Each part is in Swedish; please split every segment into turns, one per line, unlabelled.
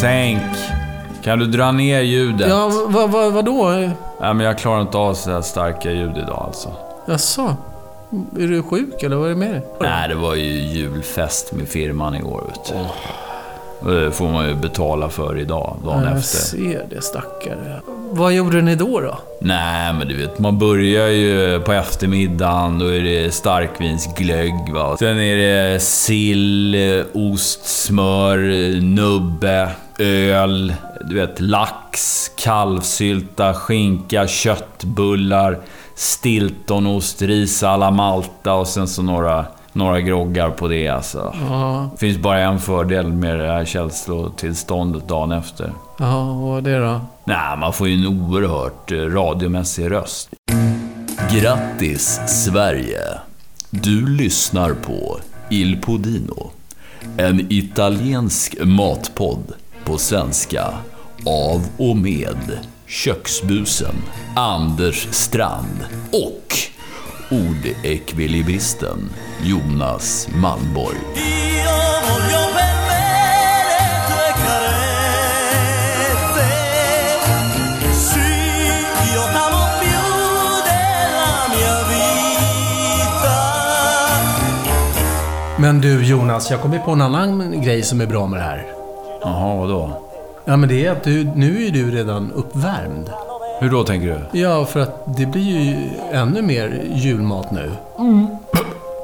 Sänk. Kan du dra ner ljudet?
Ja, vad, vad, vadå?
Nej, men jag klarar inte av så här starka ljud idag alltså.
Jaså? Är du sjuk eller vad är det med dig?
Nej, det var ju julfest med firman igår vet du. Och det får man ju betala för idag, dagen
Jag
efter.
ser det, stackare. Vad gjorde ni då då?
Nej, men du vet, man börjar ju på eftermiddagen, då är det starkvinsglögg va. Sen är det sill, eh, ost, smör, eh, nubbe, öl, du vet lax, kalvsylta, skinka, köttbullar, stiltonost, ris alla Malta och sen så några, några groggar på det alltså.
Ja,
Det finns bara en fördel med det här känslotillståndet dagen efter.
ja vad var det då?
Nej, man får ju en oerhört eh, radiomässig röst. Grattis Sverige! Du lyssnar på Il Podino. En italiensk matpodd på svenska av och med köksbusen Anders Strand och ordekvilibristen Jonas Malmborg.
Io voglio bere tue carezze Sì, io t'amo più della mia vita
Men du Jonas, jag kom ju på en annan grej som är bra med det här.
Jaha, vadå?
Ja, men det är att du, nu är du redan uppvärmd.
Hur då tänker du?
Ja, för att det blir ju ännu mer julmat nu.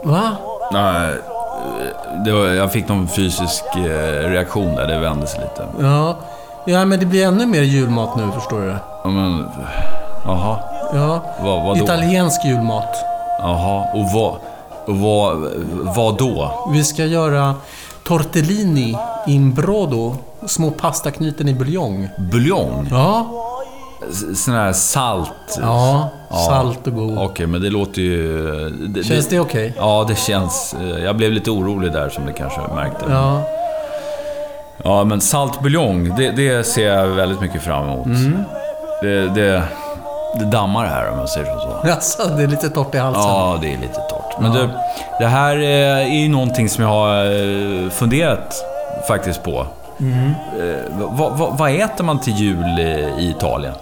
Va?
Nej, eh, det var, jag fick någon fysisk eh, reaktion där, det vände sig lite.
Ja. ja, men det blir ännu mer julmat nu, förstår du.
Ja, Men, jaha,
Ja.
vad, vad då?
Italiensk julmat.
Jaha, och vad, och vad, vad då?
Vi ska göra tortellini in brodo. Små pastaknyten i buljong.
Buljong?
Ja,
S- Sån här salt?
ja, salt och god.
Okej, men det låter ju... Det,
Känns det okej?
Ja, det känns... eh, Jag blev lite orolig där som du kanske märkte.
Ja.
Ja, men salt buljong, det, det ser jag väldigt mycket fram emot.
Mhm.
Det, det, det dammar här om jag säger som så.
Alltså, det är lite torrt i halsen.
Ja, det är lite torrt. Men du, det här eh, är ju någonting som jag har eh, funderat faktiskt på.
Mm.
Eh, Vad, vad, vad äter man till jul eh, i Italien?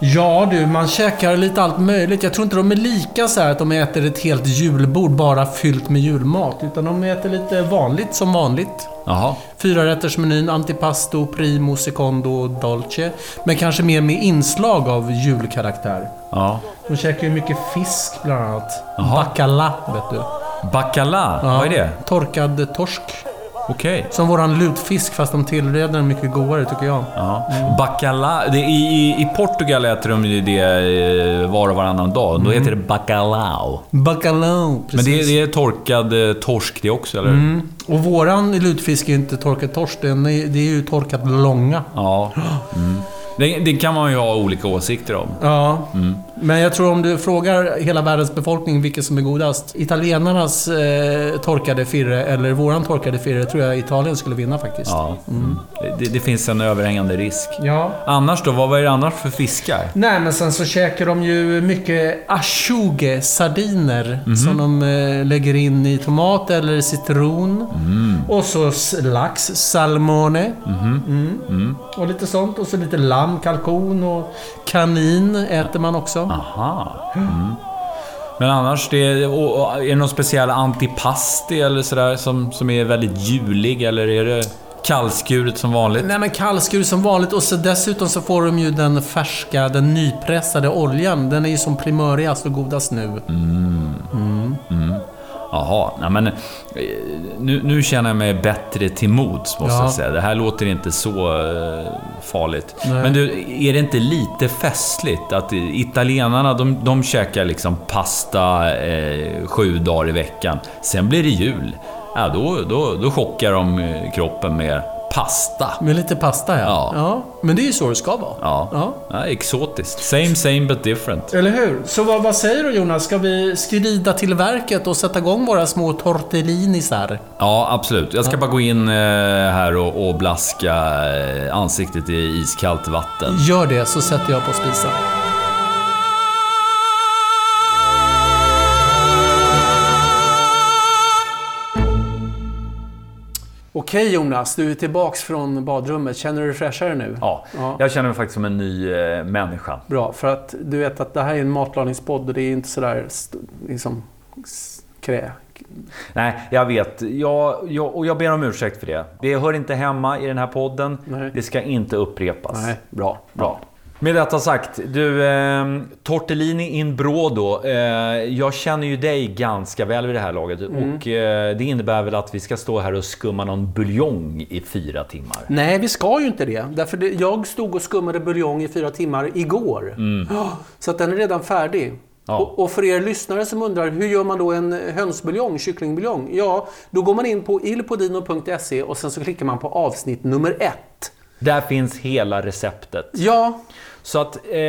Ja du, man käkar lite allt möjligt. Jag tror inte de är lika så här att de äter ett helt julbord bara fyllt med julmat. Utan de äter lite vanligt som vanligt.
Jaha.
Fyrarättersmenyn, antipasto, primo, secondo, dolce. Men kanske mer med inslag av julkaraktär.
Ja.
De käkar ju mycket fisk bland annat. Bacala, vet du.
Bacala,
Ja,
vad är det?
Torkad torsk.
Okej.
Som våran lutfisk fast de tillreder den mycket godare tycker jag.
Ja.
Mm.
Bacala, det, i, i, i Portugal äter de ju det eh, var och varannan dag. Då heter det bacalao.
Bacalao,
Men
Mm. precis.
det, det är torkad eh, torsk det också, eller?
Mm. Och våran lutfisk är ju inte torkad torsk, den är, det är ju torkad långa.
Ja. Mm. Det, det kan man ju ha olika åsikter om.
Ja,
Mm.
men jag tror om du frågar hela världens befolkning vilket som är godast. Italienarnas eh, torkade firre eller våran torkade firre tror jag Italien skulle vinna faktiskt.
Ja. Mm. Det, det finns en överhängande risk.
ja.
Annars då? Vad är det annars för fiskar?
Nej, men sen så käkar de ju mycket ashuge, sardiner.
Mhm.
Som de eh, lägger in i tomat eller citron.
Mm.
Och så s- lax, salmone.
Mhm.
Mm. Och lite sånt. Och så lite lamm, kalkon och kanin äter man också.
Ah. Aha. Mm. Men annars, det, och, och, är det någon speciell antipasti eller sådär som, som är väldigt julig? Eller är det kallskuret som vanligt?
Nej men kallskur som vanligt och så dessutom så får de ju den färska, den nypressade oljan. Den är ju som primörigast och godast nu.
Mm. Jaha, nej men... eh, Nu, nu känner jag mig bättre till mods, måste
Ja.
jag säga. Det här låter inte så eh, farligt.
Nej.
Men du, är det inte lite festligt att italienarna, de, de käkar liksom pasta eh, sju dagar i veckan. Sen blir det jul. Ja, då, då, då chockar de eh, kroppen med pasta.
Med lite pasta ja.
Ja.
Men det är ju så det ska vara.
Ja,
Ja.
ja. exotiskt. Same same but different.
Eller hur? Så vad, vad säger du Jonas? Ska vi skrida till verket och sätta igång våra små tortellinisar?
Ja, absolut. Jag ska bara gå in eh, här och, och blaska eh, ansiktet i iskallt vatten.
Gör det så sätter jag på spisen. Okej, Okej Jonas, du är tillbaks från badrummet. Känner du dig fräschare nu?
Ja,
Ja.
jag känner mig faktiskt som en ny eh, människa.
Bra, för att du vet att det här är en matlagningspodd och det är inte sådär st- liksom s- krä.
Nej, jag vet. Jag, jag, och jag ber om ursäkt för det. Det hör inte hemma i den här podden.
Nej.
Det ska inte upprepas.
Nej, bra.
Bra. Med detta sagt, du eh, Tortellini in Brodo. Eh, jag känner ju dig ganska väl vid det här laget
Mm.
och eh, det innebär väl att vi ska stå här och skumma någon buljong i fyra timmar.
Nej, vi ska ju inte det. Därför det, jag stod och skummade buljong i fyra timmar igår. Ja, Så att den är redan färdig.
Ja.
Och, och för er lyssnare som undrar, hur gör man då en hönsbuljong, kycklingbuljong? Ja, då går man in på ilpodino.se och sen så klickar man på avsnitt nummer ett.
Där finns hela receptet.
Ja,
Så att eh,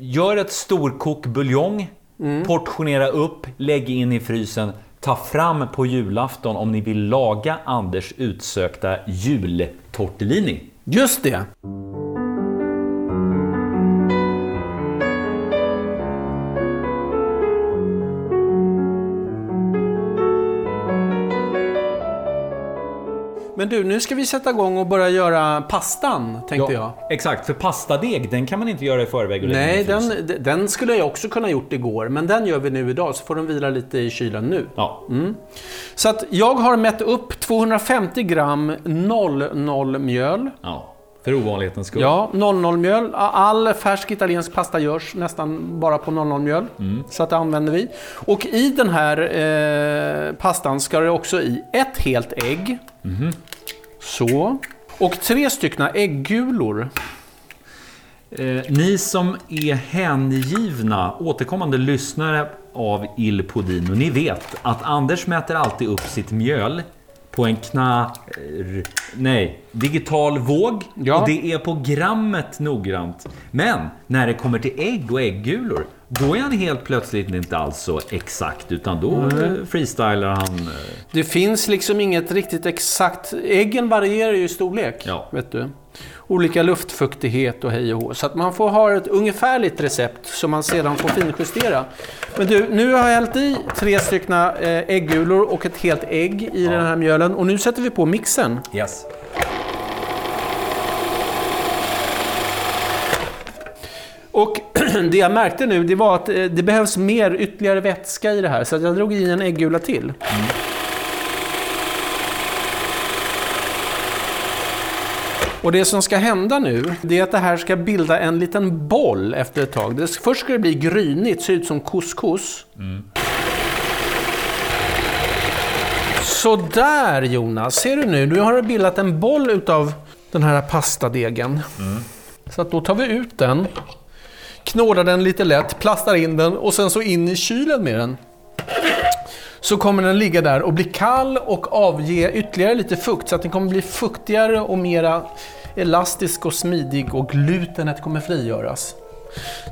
gör ett storkok buljong,
Mm.
portionera upp, lägg in i frysen. Ta fram på julafton om ni vill laga Anders utsökta jultortellini.
just det. Men du, nu ska vi sätta igång och börja göra pastan, tänkte jag.
Exakt, för pastadeg den kan man inte göra i förväg. och lägga in i
Nej,
frysen.
den, den skulle jag också kunna gjort igår, men den gör vi nu idag, så får den vila lite i kylen nu.
Ja.
Mm. Så att jag har mätt upp 250 gram 00 mjöl.
ja. För ovanlighetens skull.
Ja, 00 mjöl. All färsk italiensk pasta görs nästan bara på 00 mjöl. Så att det använder vi. Och i den här eh, pastan ska det också i ett helt ägg. Så. Och tre stycken ägggulor.
Eh, ni som är hängivna återkommande lyssnare av Il Podino, ni vet att Anders mäter alltid upp sitt mjöl på en kna... r- Nej, digital våg.
Ja.
Och det är på grammet noggrant. Men när det kommer till ägg och äggulor, då är han helt plötsligt inte alls så exakt, utan då eh, freestylar han. eh,
Det finns liksom inget riktigt exakt... Äggen varierar ju i storlek.
Ja.
Vet du. Olika luftfuktighet och hej och hå. Så att man får ha ett ungefärligt recept som man sedan får finjustera. Men du, nu har jag hällt i tre stycken äggulor och ett helt ägg i den här mjölen. Och nu sätter vi på mixen.
Yes.
Och det jag märkte nu, det var att eh, det behövs mer ytterligare vätska i det här. Så att jag drog i en äggula till. Och det som ska hända nu, det är att det här ska bilda en liten boll efter ett tag. Det, först ska det bli grynigt, se ut som couscous. Sådär Jonas, ser du nu? Nu har det bildat en boll utav den här pastadegen. Så att då tar vi ut den, knådar den lite lätt, plastar in den och sen så in i kylen med den. Så kommer den ligga där och bli kall och avge ytterligare lite fukt så att den kommer bli fuktigare och mera elastisk och smidig och glutenet kommer frigöras.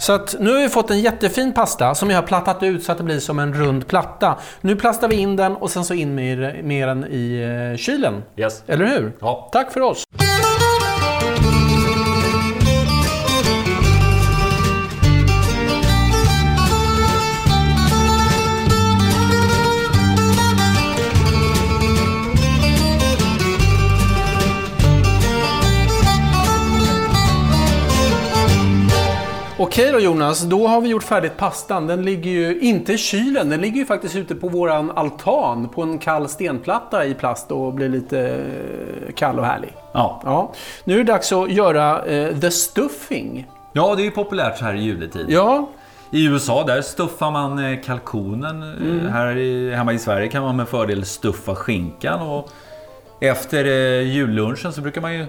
Så att nu har vi fått en jättefin pasta som jag har plattat ut så att det blir som en rund platta. Nu plastar vi in den och sen så in med, med den i eh, kylen.
Yes.
Eller hur?
Ja.
Tack för oss! Okej då Jonas, då har vi gjort färdigt pastan. Den ligger ju inte i kylen, den ligger ju faktiskt ute på våran altan på en kall stenplatta i plast och blir lite eh, kall och härlig.
Ja.
Ja. Nu är det dags att göra eh, the stuffing.
ja, det är ju populärt så här i juletid.
Ja,
I USA där stuffar man eh, kalkonen. Eh, Här i, hemma i Sverige kan man med fördel stuffa skinkan. Och efter eh, jullunchen så brukar man ju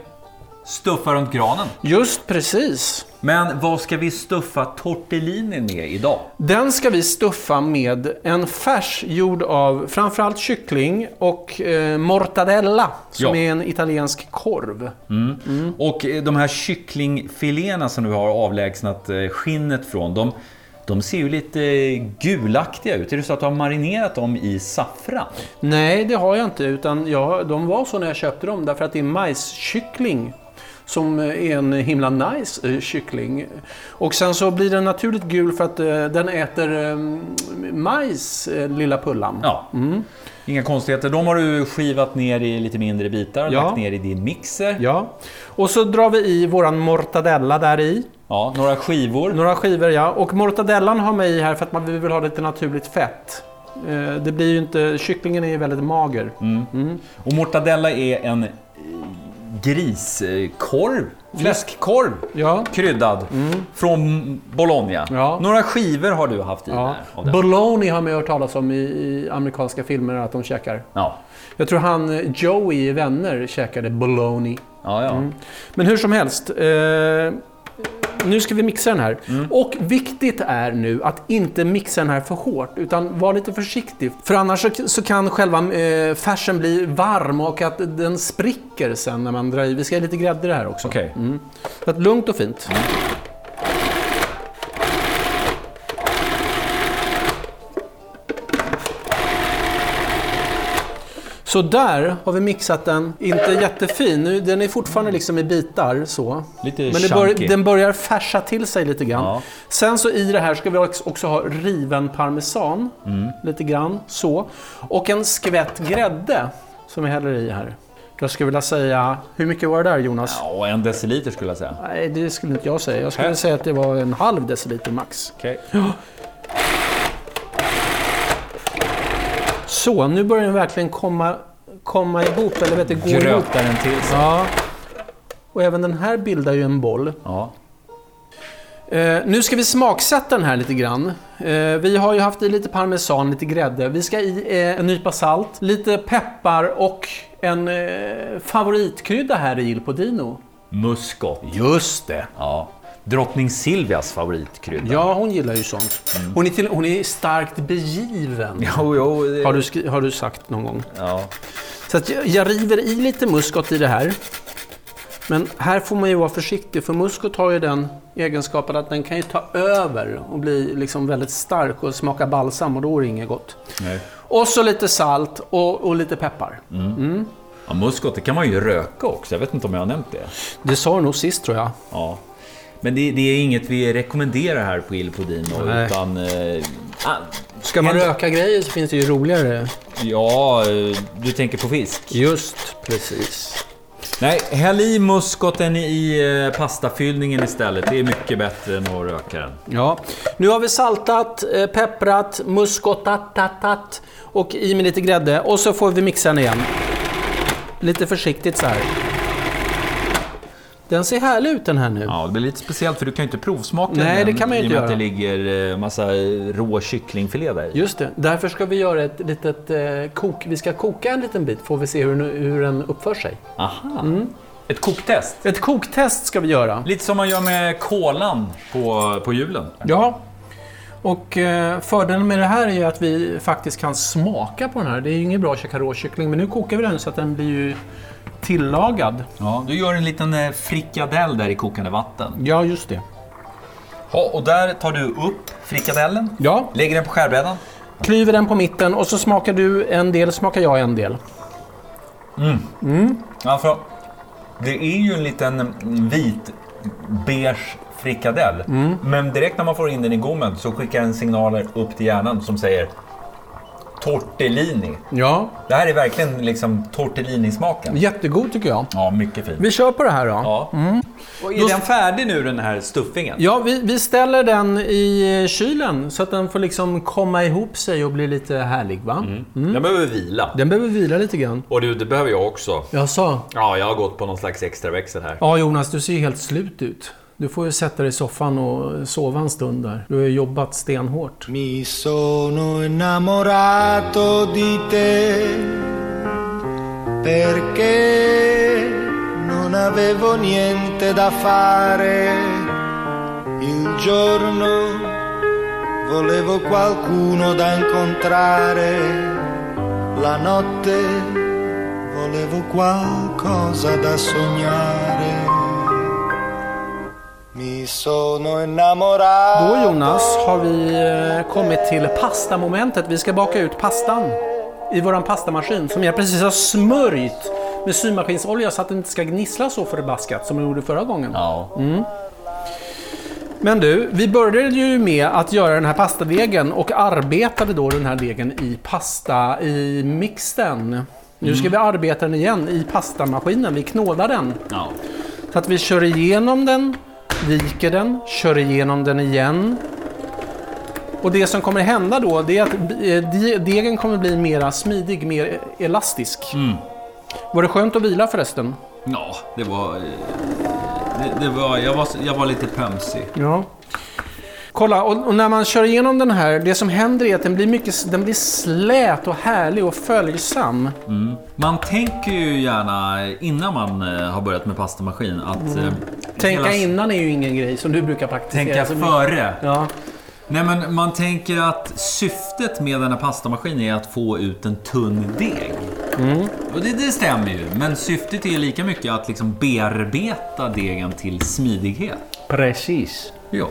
stuffa runt granen.
just precis.
Men vad ska vi stuffa tortellinin med idag?
Den ska vi stuffa med en färs gjord av framförallt kyckling och eh, mortadella som
Ja.
är en italiensk korv.
Och eh, de här kycklingfiléerna som du har avlägsnat eh, skinnet från. De, de ser ju lite eh, gulaktiga ut. Är det så att du har marinerat dem i saffran?
Nej, det har jag inte. Utan jag, de var så när jag köpte dem därför att det är majskyckling. som är en himla nice eh, kyckling. Och sen så blir den naturligt gul för att eh, den äter eh, majs, eh, lilla Pullan.
Ja.
Mm.
Inga konstigheter. De har du skivat ner i lite mindre bitar,
Ja.
lagt ner i din mixer. Ja,
Ja. Och så drar vi i våran mortadella där i.
några skivor.
Några skivor ja. Och mortadellan har med i här för att man vill ha lite naturligt fett. Eh, Det blir ju inte... Kycklingen är ju väldigt mager.
Mm. Och mortadella är en eh, griskorv,
Mm.
fläskkorv.
Ja.
Kryddad. Från Bologna.
Mm. Ja.
Några skivor har du haft i
Ja.
där. av den.
Bologna har man ju hört talas om i, i amerikanska filmer att de käkar.
Ja.
Jag tror han eh, Joey i Vänner käkade bologna.
Ja, ja.
Mm. Men hur som helst. Eh, nu ska vi mixa den här. Och viktigt är nu att inte mixa den här för hårt, utan var lite försiktig. För annars så, så kan själva eh, färsen bli varm och att den spricker sen när man drar i. Vi ska ha lite grädde i det här också.
Okej.
Så att lugnt och fint. Så där har vi mixat den. Inte jättefin. Nu, den är fortfarande liksom i bitar så.
Lite
Men det
chunky.
bör, den börjar färsa till sig lite grann.
Ja.
Sen så i det här ska vi också- också ha riven parmesan.
Mm.
Lite grann så. Och en skvätt grädde som vi häller i här. Jag skulle vilja säga, hur mycket var det där Jonas?
Ja, en deciliter skulle jag säga.
Nej, det skulle inte jag säga. Jag
Här.
skulle säga att det var en halv deciliter max.
Okej.
Så, nu börjar den verkligen komma, komma ihop, eller vet du, gå ihop.
Grötar den till sig.
Ja. Och även den här bildar ju en boll.
Ja.
Eh, nu ska vi smaksätta den här lite grann. Eh, vi har ju haft i lite parmesan, lite grädde. Vi ska i eh, en nypa salt, lite peppar och en eh, favoritkrydda här i Il Podino.
Muskot.
Just det.
Ja. Drottning Silvias favoritkrydda.
Ja, hon gillar ju sånt. Hon, är till, hon är starkt begiven.
Jo, jo. det-
Har du, skri- har du sagt någon gång.
Ja.
Så att jag, jag river i lite muskot i det här. Men här får man ju vara försiktig för muskot har ju den egenskapen att den kan ju ta över och bli liksom väldigt stark och smaka balsam och då är det inget gott.
Nej.
Och så lite salt och, och lite peppar.
Ja, muskot, det kan man ju röka också. Jag vet inte om jag har nämnt det.
Det sa du nog sist tror jag.
Ja. Men det, det är inget vi rekommenderar här på Il Podino,
Nej.
utan... Eh, ah,
Ska man
en-
röka grejer så finns det ju roligare.
Ja, eh, du tänker på fisk.
Just precis.
Nej, häll i muskoten i eh, pastafyllningen istället. Det är mycket bättre än att röka den.
Ja, nu har vi saltat, eh, pepprat, muskotatat och i med lite grädde och så får vi mixa den igen. Lite försiktigt så här. Den ser härlig ut den här nu.
Ja, det blir lite speciellt för du kan ju inte provsmaka
Nej,
den
det kan man ju
i och
inte
med att det
göra.
ligger eh, massa eh, rå kycklingfilé där i.
Just det, därför ska vi göra ett litet eh, kok. Vi ska koka en liten bit får vi se hur, den- hur den uppför sig.
Aha! Ett koktest.
Ett koktest ska vi göra.
Lite som man gör med kolan på, på julen.
Ja. Och eh, fördelen med det här är ju att vi faktiskt kan smaka på den här. Det är ju inget bra att käka råkyckling, men nu kokar vi den så att den blir ju tillagad.
Ja, du gör en liten eh, frikadell där i kokande vatten.
Ja, just det.
Ja, och där tar du upp frikadellen.
Ja,
Lägger den på skärbrädan.
klyver den på mitten och så smakar du en del, smakar jag en del.
Ja, för det är ju en liten mm, vit beige frikadell. Men direkt när man får in den i gommen så skickar den signaler upp till hjärnan som säger tortellini.
Ja,
Det här är verkligen liksom tortellini-smaken.
jättegod tycker jag.
Ja, mycket fint.
Vi kör på det här då. Ja,
Ja. Och är
Då-
den färdig nu den här stuffingen?
vi, vi ställer den i kylen så att den får liksom komma ihop sig och bli lite härlig va?
Den behöver vila.
Den behöver vila lite grann.
Och du, det behöver jag också.
Jaså?
Ja, jag har gått på någon slags extra växel här.
Ja Jonas, du ser ju helt slut ut. Du får ju sätta dig i soffan och sova en stund där. Du har ju jobbat stenhårt.
Mi sono innamorato di te perché non avevo niente da fare. Il giorno volevo qualcuno da incontrare. La notte volevo qualcosa da sognare. Mi sono innamorato.
Då Jonas har vi eh, kommit till pastamomentet. Vi ska baka ut pastan i våran pastamaskin som jag precis har smörjt med symaskinsolja så att det inte ska gnissla så förbaskat som jag gjorde förra gången.
Ja.
Men du, vi började ju med att göra den här pastadegen och arbetade då den här degen i pasta i mixten. Nu ska vi arbeta den igen i pastamaskinen. Vi knådar den.
ja.
Så att vi kör igenom den, viker den, kör igenom den igen. Och det som kommer hända då, det är att eh, de- degen kommer bli mera smidig, mer elastisk. Var det skönt att vila förresten?
Ja, det var... eh, Det, det var jag, var jag var lite pömsig.
Ja. Kolla, och, och när man kör igenom den här, det som händer är att den blir, mycket, den blir slät och härlig och följsam.
Man tänker ju gärna innan man eh, har börjat med pastamaskin att... eh,
Tänka
hela-
innan är ju ingen grej som du brukar praktisera.
Tänka
så mycket.
före.
Ja.
Nej men man tänker att syftet med den här pastamaskinen är att få ut en tunn deg. Och det, det stämmer ju. Men syftet är lika mycket att liksom bearbeta degen till smidighet.
Precis.
Ja.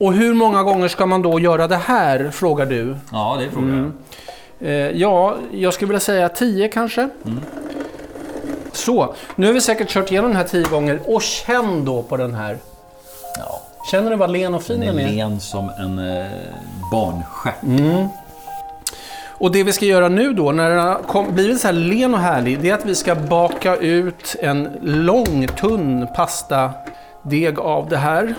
Och hur många gånger ska man då göra det här, frågar du?
Ja, det är frågan.
Eh, ja, jag skulle vilja säga 10 kanske. Så, nu har vi säkert kört igenom den här 10 gånger. Och känn då på den här.
Ja.
Känner du vad len och fin
Den är Mm.
den är?
len som en eh, barnstjärt.
Och det vi ska göra nu då, när den har kom, blivit så här len och härlig, det är att vi ska baka ut en lång, tunn pastadeg av det här.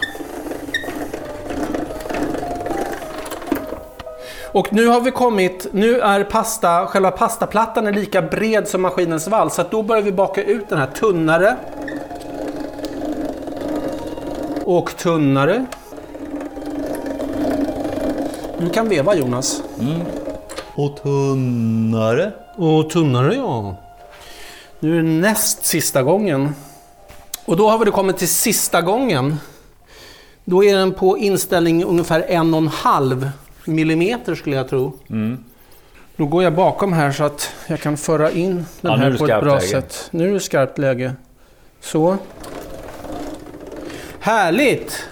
Och nu har vi kommit, nu är pasta, själva pastaplattan är lika bred som maskinens vall, så att då börjar vi baka ut den här tunnare. Och tunnare. Du kan veva Jonas.
Och tunnare.
Och tunnare ja. Nu är det näst sista gången. Och då har vi då kommit till sista gången. Då är den på inställning ungefär 1,5 millimeter skulle jag tro.
Mm.
Då går jag bakom här så att jag kan föra in den
Ja, nu är
här
det
på ett
skarpt
bra
läge.
sätt. Nu är det skarpt läge. Så. Härligt!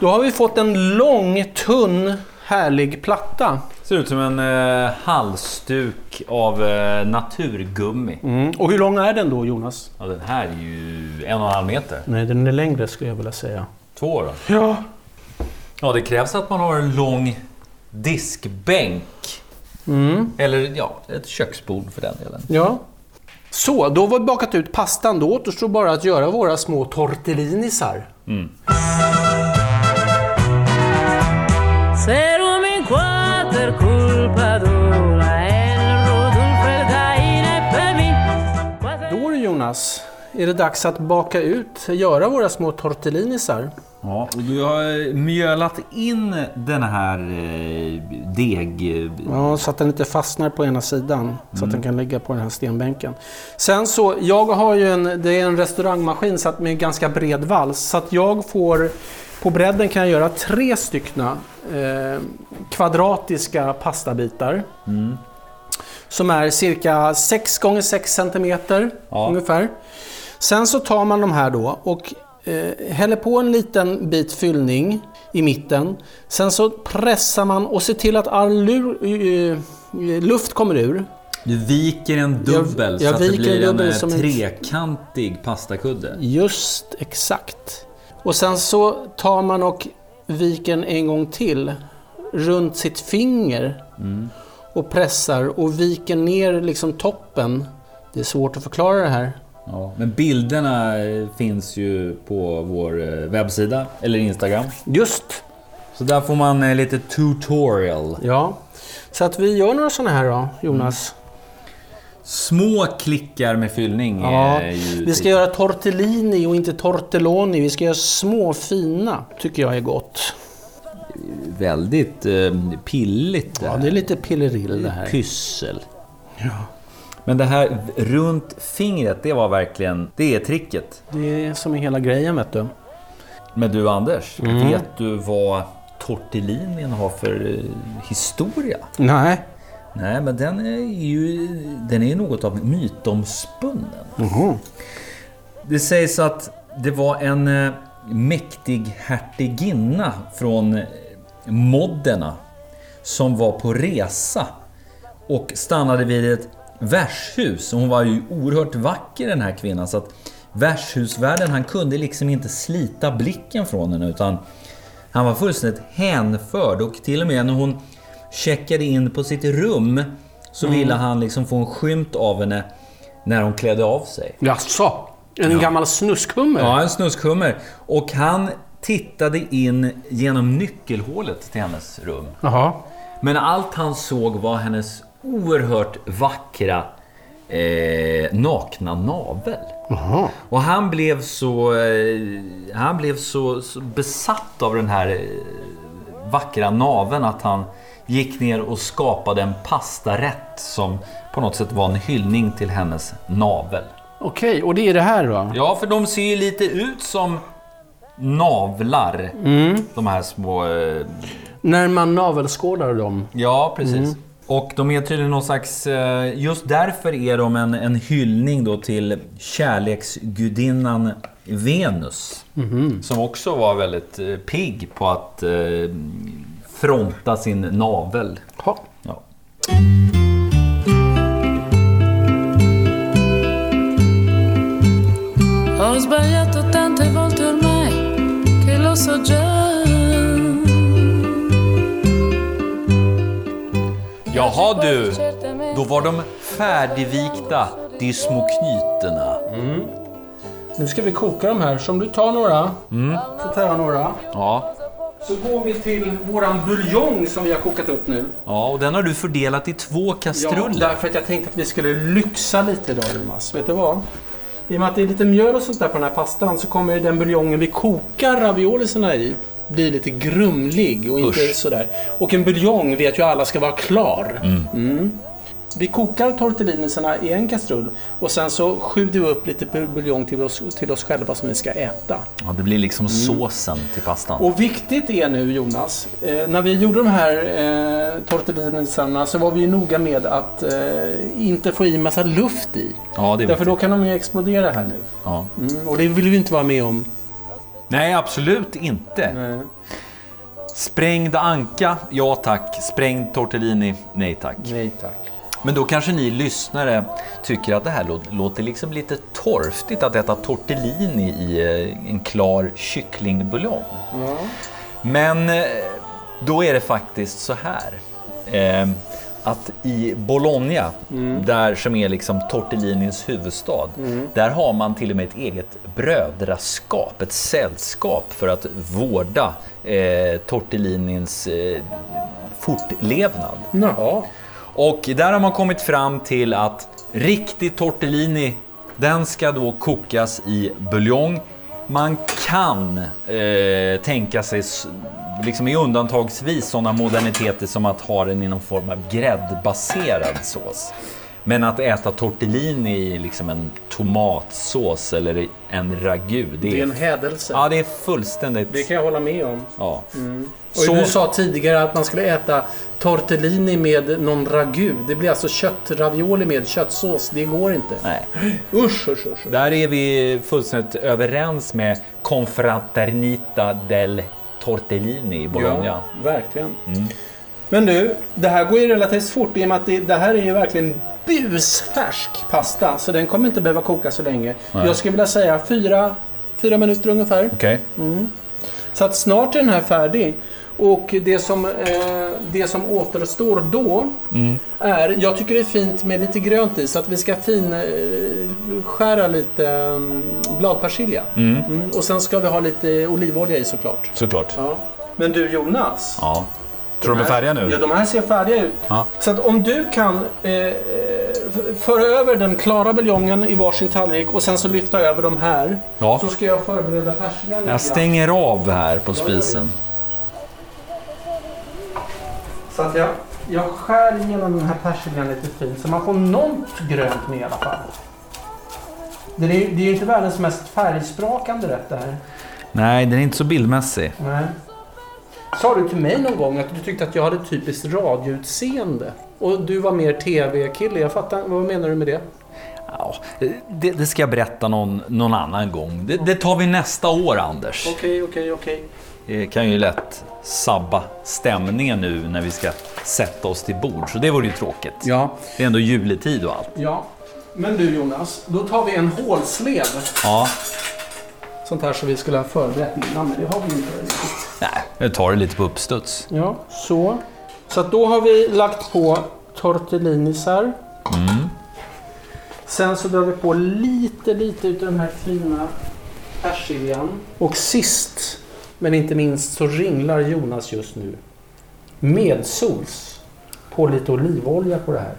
Då har vi fått en lång, tunn, härlig platta.
Ser ut som en eh, halsduk av eh, naturgummi.
Och hur lång är den då Jonas?
Ja, den här är ju en och en halv meter.
Nej, den är längre skulle jag vilja säga.
Två då.
Ja.
Ja, det krävs att man har en lång diskbänk. Eller ja, ett köksbord för den delen.
ja. Så, då har vi bakat ut pastan. Då återstår bara att göra våra små tortellinisar.
Serum in quater culpa dura El rodul felgaine pe mi Quater-
Då du Jonas, är det dags att baka ut, göra våra små tortellinisar.
Ja, och du har eh, mjölat in den här eh, deg...
Ja, så att den inte fastnar på ena sidan. Så att den kan ligga på den här stenbänken. Sen så, jag har ju en, det är en restaurangmaskin så att med ganska bred vals. Så att jag får, på bredden kan jag göra tre stycken eh, kvadratiska pastabitar. Som är cirka 6 gånger 6 cm
Ja.
ungefär. Sen så tar man de här då och eh, häller på en liten bit fyllning i mitten. Sen så pressar man och ser till att all lur, eh, luft kommer ur.
Du viker en dubbel
jag
så att det
viker
blir
en
en
dubbel
eh,
som en-
trekantig pastakudde.
Just exakt. Och sen så tar man och viker den en gång till runt sitt finger och pressar och viker ner liksom toppen. Det är svårt att förklara det här.
Ja, men bilderna eh, finns ju på vår eh, webbsida eller Instagram.
Just!
Så där får man eh, lite tutorial.
Ja. Så att vi gör några sådana här då, Jonas.
Små klickar med fyllning.
Ja,
eh, ju
vi ska göra tortellini och inte tortelloni. Vi ska göra små fina, tycker jag är gott.
väldigt eh, pilligt.
Ja,
här.
det är lite pillerill det här.
Pyssel. Men det här runt fingret, det var verkligen, det är tricket.
Det är som är hela grejen vet du.
Men du Anders,
Mm.
vet du vad tortellinin har för eh, historia?
Nej.
Nej, men den är ju den är något av mytomspunnen. Det sägs att det var en eh, mäktig hertiginna från eh, Modderna som var på resa och stannade vid ett värdshus. Och Hon var ju oerhört vacker den här kvinnan. Så att värdshusvärden han kunde liksom inte slita blicken från henne utan han var fullständigt hänförd och till och med när hon checkade in på sitt rum så ville han liksom få en skymt av henne när hon klädde av sig.
Jaså? En gammal snuskhummer?
Ja, en snuskhummer. Och han tittade in genom nyckelhålet till hennes rum.
Jaha.
Men allt han såg var hennes oerhört vackra eh, nakna navel.
Jaha.
Och han blev så, eh, han blev så, så besatt av den här eh, vackra naveln att han gick ner och skapade en pastarätt som på något sätt var en hyllning till hennes navel.
Okej, och det är det här va?
Ja, för de ser ju lite ut som navlar. De här små... eh,
När man navelskådar dem.
Ja,
Mm.
precis. Och de är tydligen någon slags... eh, Just därför är de en, en hyllning då till kärleksgudinnan Venus.
Mm-hmm.
Som också var väldigt eh, pigg på att eh, fronta sin navel.
Ha.
Ja.
Ho sbagliato tante volte ormai che lo so già.
Jaha du, då var de färdigvikta, de små knytena.
Nu ska vi koka de här. Så om du tar några, så tar jag några.
Ja.
Så går vi till våran buljong som vi har kokat upp nu.
ja, och den har du fördelat i två kastruller.
därför att jag tänkte att vi skulle lyxa lite idag Jonas. Vet du vad? I och med att det är lite mjöl och sånt där på den här pastan så kommer den buljongen vi kokar raviolisarna i bli lite grumlig och inte sådär. Och en buljong vet ju alla ska vara klar. Mm. Vi kokar tortellinisarna i en kastrull och sen så sjuder vi upp lite bul- buljong till oss, till oss själva som vi ska äta.
Ja, det blir liksom såsen till pastan.
Mm. Och viktigt är nu Jonas, eh, när vi gjorde de här eh, tortellinisarna så var vi ju noga med att eh, inte få i massa luft i.
Ja, det är
Därför
viktigt.
då kan de ju explodera här nu.
Ja.
Mm, och det vill vi inte vara med om.
Nej, absolut inte.
Nej.
Sprängd anka, ja tack. Sprängd tortellini, nej tack.
Nej tack.
Men då kanske ni lyssnare tycker att det här lå- låter liksom lite torftigt att äta tortellini i eh, en klar kycklingbuljong. Men eh, då är det faktiskt så här. Eh, Att i Bologna, där som är liksom tortellinins huvudstad, där har man till och med ett eget brödraskap, ett sällskap för att vårda eh, tortellinins eh, fortlevnad. Och där har man kommit fram till att riktig tortellini, den ska då kokas i buljong. Man kan eh, tänka sig, s- liksom i undantagsvis, sådana moderniteter som att ha den i någon form av gräddbaserad sås. Men att äta tortellini i liksom en tomatsås eller i en ragu, det är,
Det är en hädelse.
ja, det är fullständigt...
Det kan Mm. jag hålla med om.
ja.
Och du sa tidigare att man skulle äta tortellini med någon ragu. Det blir alltså köttravioli med köttsås. Det går inte.
Nej.
Usch, usch, usch.
Där är vi fullständigt överens med Confraternita del Tortellini i Bologna.
Ja, verkligen. Men du, det här går ju relativt fort i och med att det, det här är ju verkligen busfärsk pasta. Så den kommer inte behöva koka så länge. Jag skulle vilja säga fyra, fyra minuter ungefär.
Okej.
Så att snart är den här färdig. Och det som, eh, det som återstår då är, jag tycker det är fint med lite grönt i så att vi ska fin eh, skära lite mm, bladpersilja. Mm, och sen ska vi ha lite olivolja i såklart.
Såklart.
Ja. Men du Jonas.
Ja. Tror du de är färdiga nu?
Ja, de här ser färdiga ut.
Ja.
Så att om du kan eh, f- föra över den klara buljongen i varsin tallrik och sen så lyfta över de här.
Ja.
Så ska jag förbereda persiljan. lite grann.
Jag stänger av här på spisen.
Så att jag, jag skär igenom den här persiljan lite fint så man får något grönt med i alla fall. Det är, ju- det är ju inte världens mest färgsprakande rätt det här.
Nej, den är inte så bildmässig.
Nej. Sa du till mig någon gång att du tyckte att jag hade typiskt radioutseende? Och du var mer tv-kille, jag fattar. Vad menar du med det?
Ja, det, det ska jag berätta någon, någon annan gång. Det, det tar vi nästa år, Anders.
Okej, okej, okej.
eh, kan ju lätt sabba stämningen nu när vi ska sätta oss till bord. Så det vore ju tråkigt.
Ja.
Det är ändå juletid och allt.
ja. Men du Jonas, då tar vi en hålslev.
Ja,
Sånt här som vi skulle ha förberett innan, men det har vi inte. riktigt.
nej, jag tar det lite på uppstuds.
Ja, så. Så att då har vi lagt på tortellinisar. Sen så drar vi på lite, lite utav den här fina persiljan. Och sist, men inte minst, så ringlar Jonas just nu medsols på lite olivolja på det här.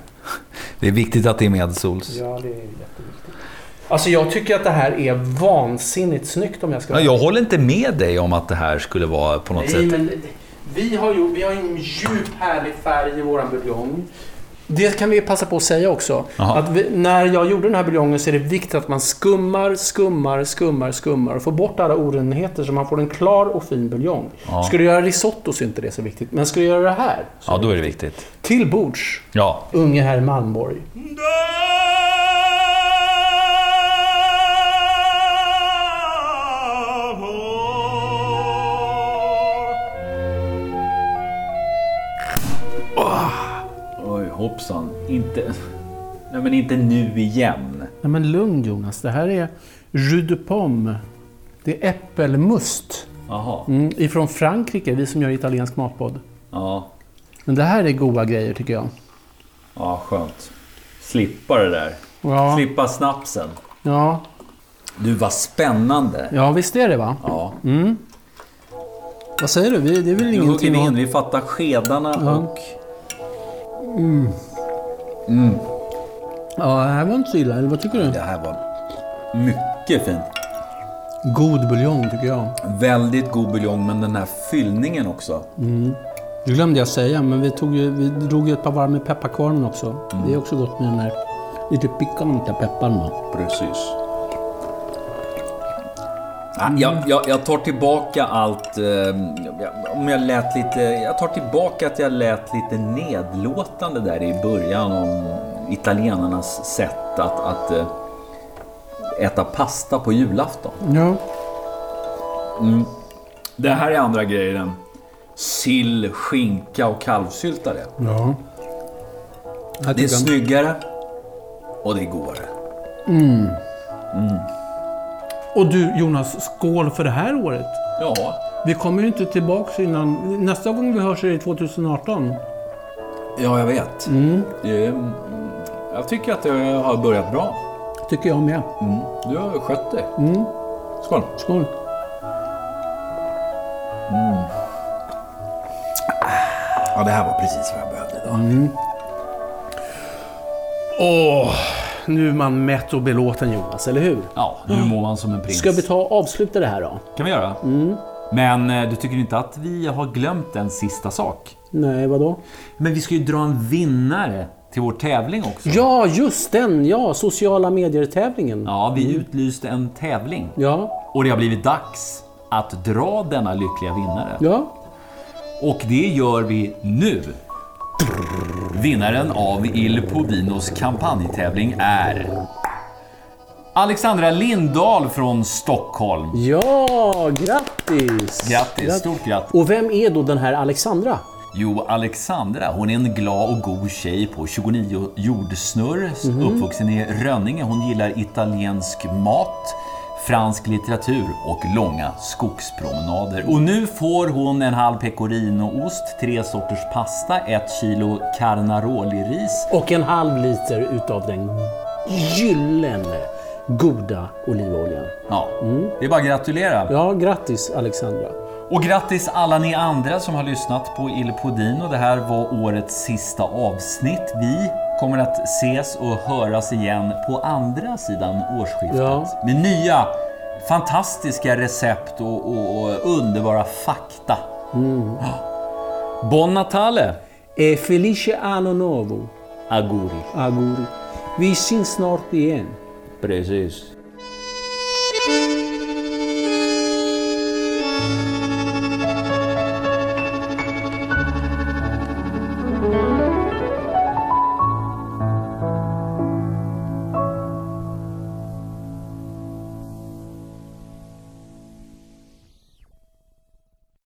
Det är viktigt att det är medsols.
Ja, det är jätteviktigt. Alltså jag tycker att det här är vansinnigt snyggt om jag ska
Ja, jag håller inte med dig om att det här skulle vara på något
Nej,
sätt...
men vi har ju vi har ju en djup härlig färg i våran buljong. Det kan vi passa på att säga också.
Jaha.
Att vi, när jag gjorde den här buljongen så är det viktigt att man skummar, skummar, skummar, skummar och får bort alla orenheter så man får en klar och fin buljong.
Ja.
Skulle du göra risotto så är inte det så viktigt, men skulle du göra det här så
Ja, då är det viktigt.
till bords,
Ja,
unge herr Malmborg.
Oj, hoppsan. Inte... Nej, men inte nu igen.
Nej men lugn Jonas, det här är jus de pomme. Det är äppelmust
Jaha.
mm, ifrån Frankrike, vi som gör italiensk matpodd.
Ja.
Men det här är goda grejer tycker jag.
ja, skönt. Slippa det där.
Ja,
Slippa snapsen.
ja,
Du, var spännande.
ja visst är det va?
Ja.
Vad säger du? Vi- Det är väl
Nu hugger
ingenting
vi in.
att...
Vi fattar skedarna och...
Mm. Ja, det här var inte så illa, eller vad tycker du?
Det här var mycket fint.
God buljong tycker jag.
Väldigt god buljong, men den här fyllningen också.
Det glömde jag säga, men vi, tog ju, vi drog ju ett par varv med pepparkvarnen också. Det är också gott med den här lite pikanta pepparn va?
Precis. Ah, Jag, jag, jag tar tillbaka allt. eh, jag- Om jag lät lite... Jag tar tillbaka att jag lät lite nedlåtande där i början om italienarnas sätt att, att eh, äta pasta på julafton.
Ja.
Det här är andra grejen. Sill, skinka och kalvsyltare.
Ja.
Det är snyggare och det är godare.
Och du Jonas, skål för det här året.
Ja,
Vi kommer ju inte tillbaks innan... Nästa gång vi hörs är det 2018.
Ja, jag vet. Eh, Jag tycker att det har börjat bra.
Tycker jag med.
Du har skött dig. Skål.
Skål.
Ja, det här var precis vad jag behövde idag.
Åh, nu är man mätt och belåten Jonas, eller hur?
Ja, nu mår man som en prins.
Ska vi ta och avsluta det här då?
kan vi göra. Men eh, du tycker inte att vi har glömt en sista sak?
Nej, vadå?
Men vi ska ju dra en vinnare till vår tävling också.
Ja, just den! Ja, sociala medier-tävlingen. Ja.
Ja, vi utlyste en tävling.
ja,
Och det har blivit dags att dra denna lyckliga vinnare. Och det gör vi nu. Vinnaren av Il Povinos kampanjtävling är Alexandra Lindahl från Stockholm.
Ja, grattis!
Grattis, stort grattis.
Och vem är då den här Alexandra?
Jo, Alexandra, hon är en glad och god tjej på 29 jordsnurr, uppvuxen i Rönninge. Hon gillar italiensk mat, fransk litteratur och långa skogspromenader. Och nu får hon en halv pecorino-ost, tre sorters pasta, ett kilo carnaroli-ris.
Och en halv liter utav den gyllene goda olivoljan.
Ja, det är bara att gratulera.
Ja, grattis Alexandra.
Och grattis alla ni andra som har lyssnat på Il Podino. Det här var årets sista avsnitt. Vi kommer att ses och höras igen på andra sidan årsskiftet.
Ja.
Med nya fantastiska recept och, och, och underbara fakta. Mm. Bon Natale!
E felice anno novo,
Aguri.
auguri. Vi syns snart igen.
Precis.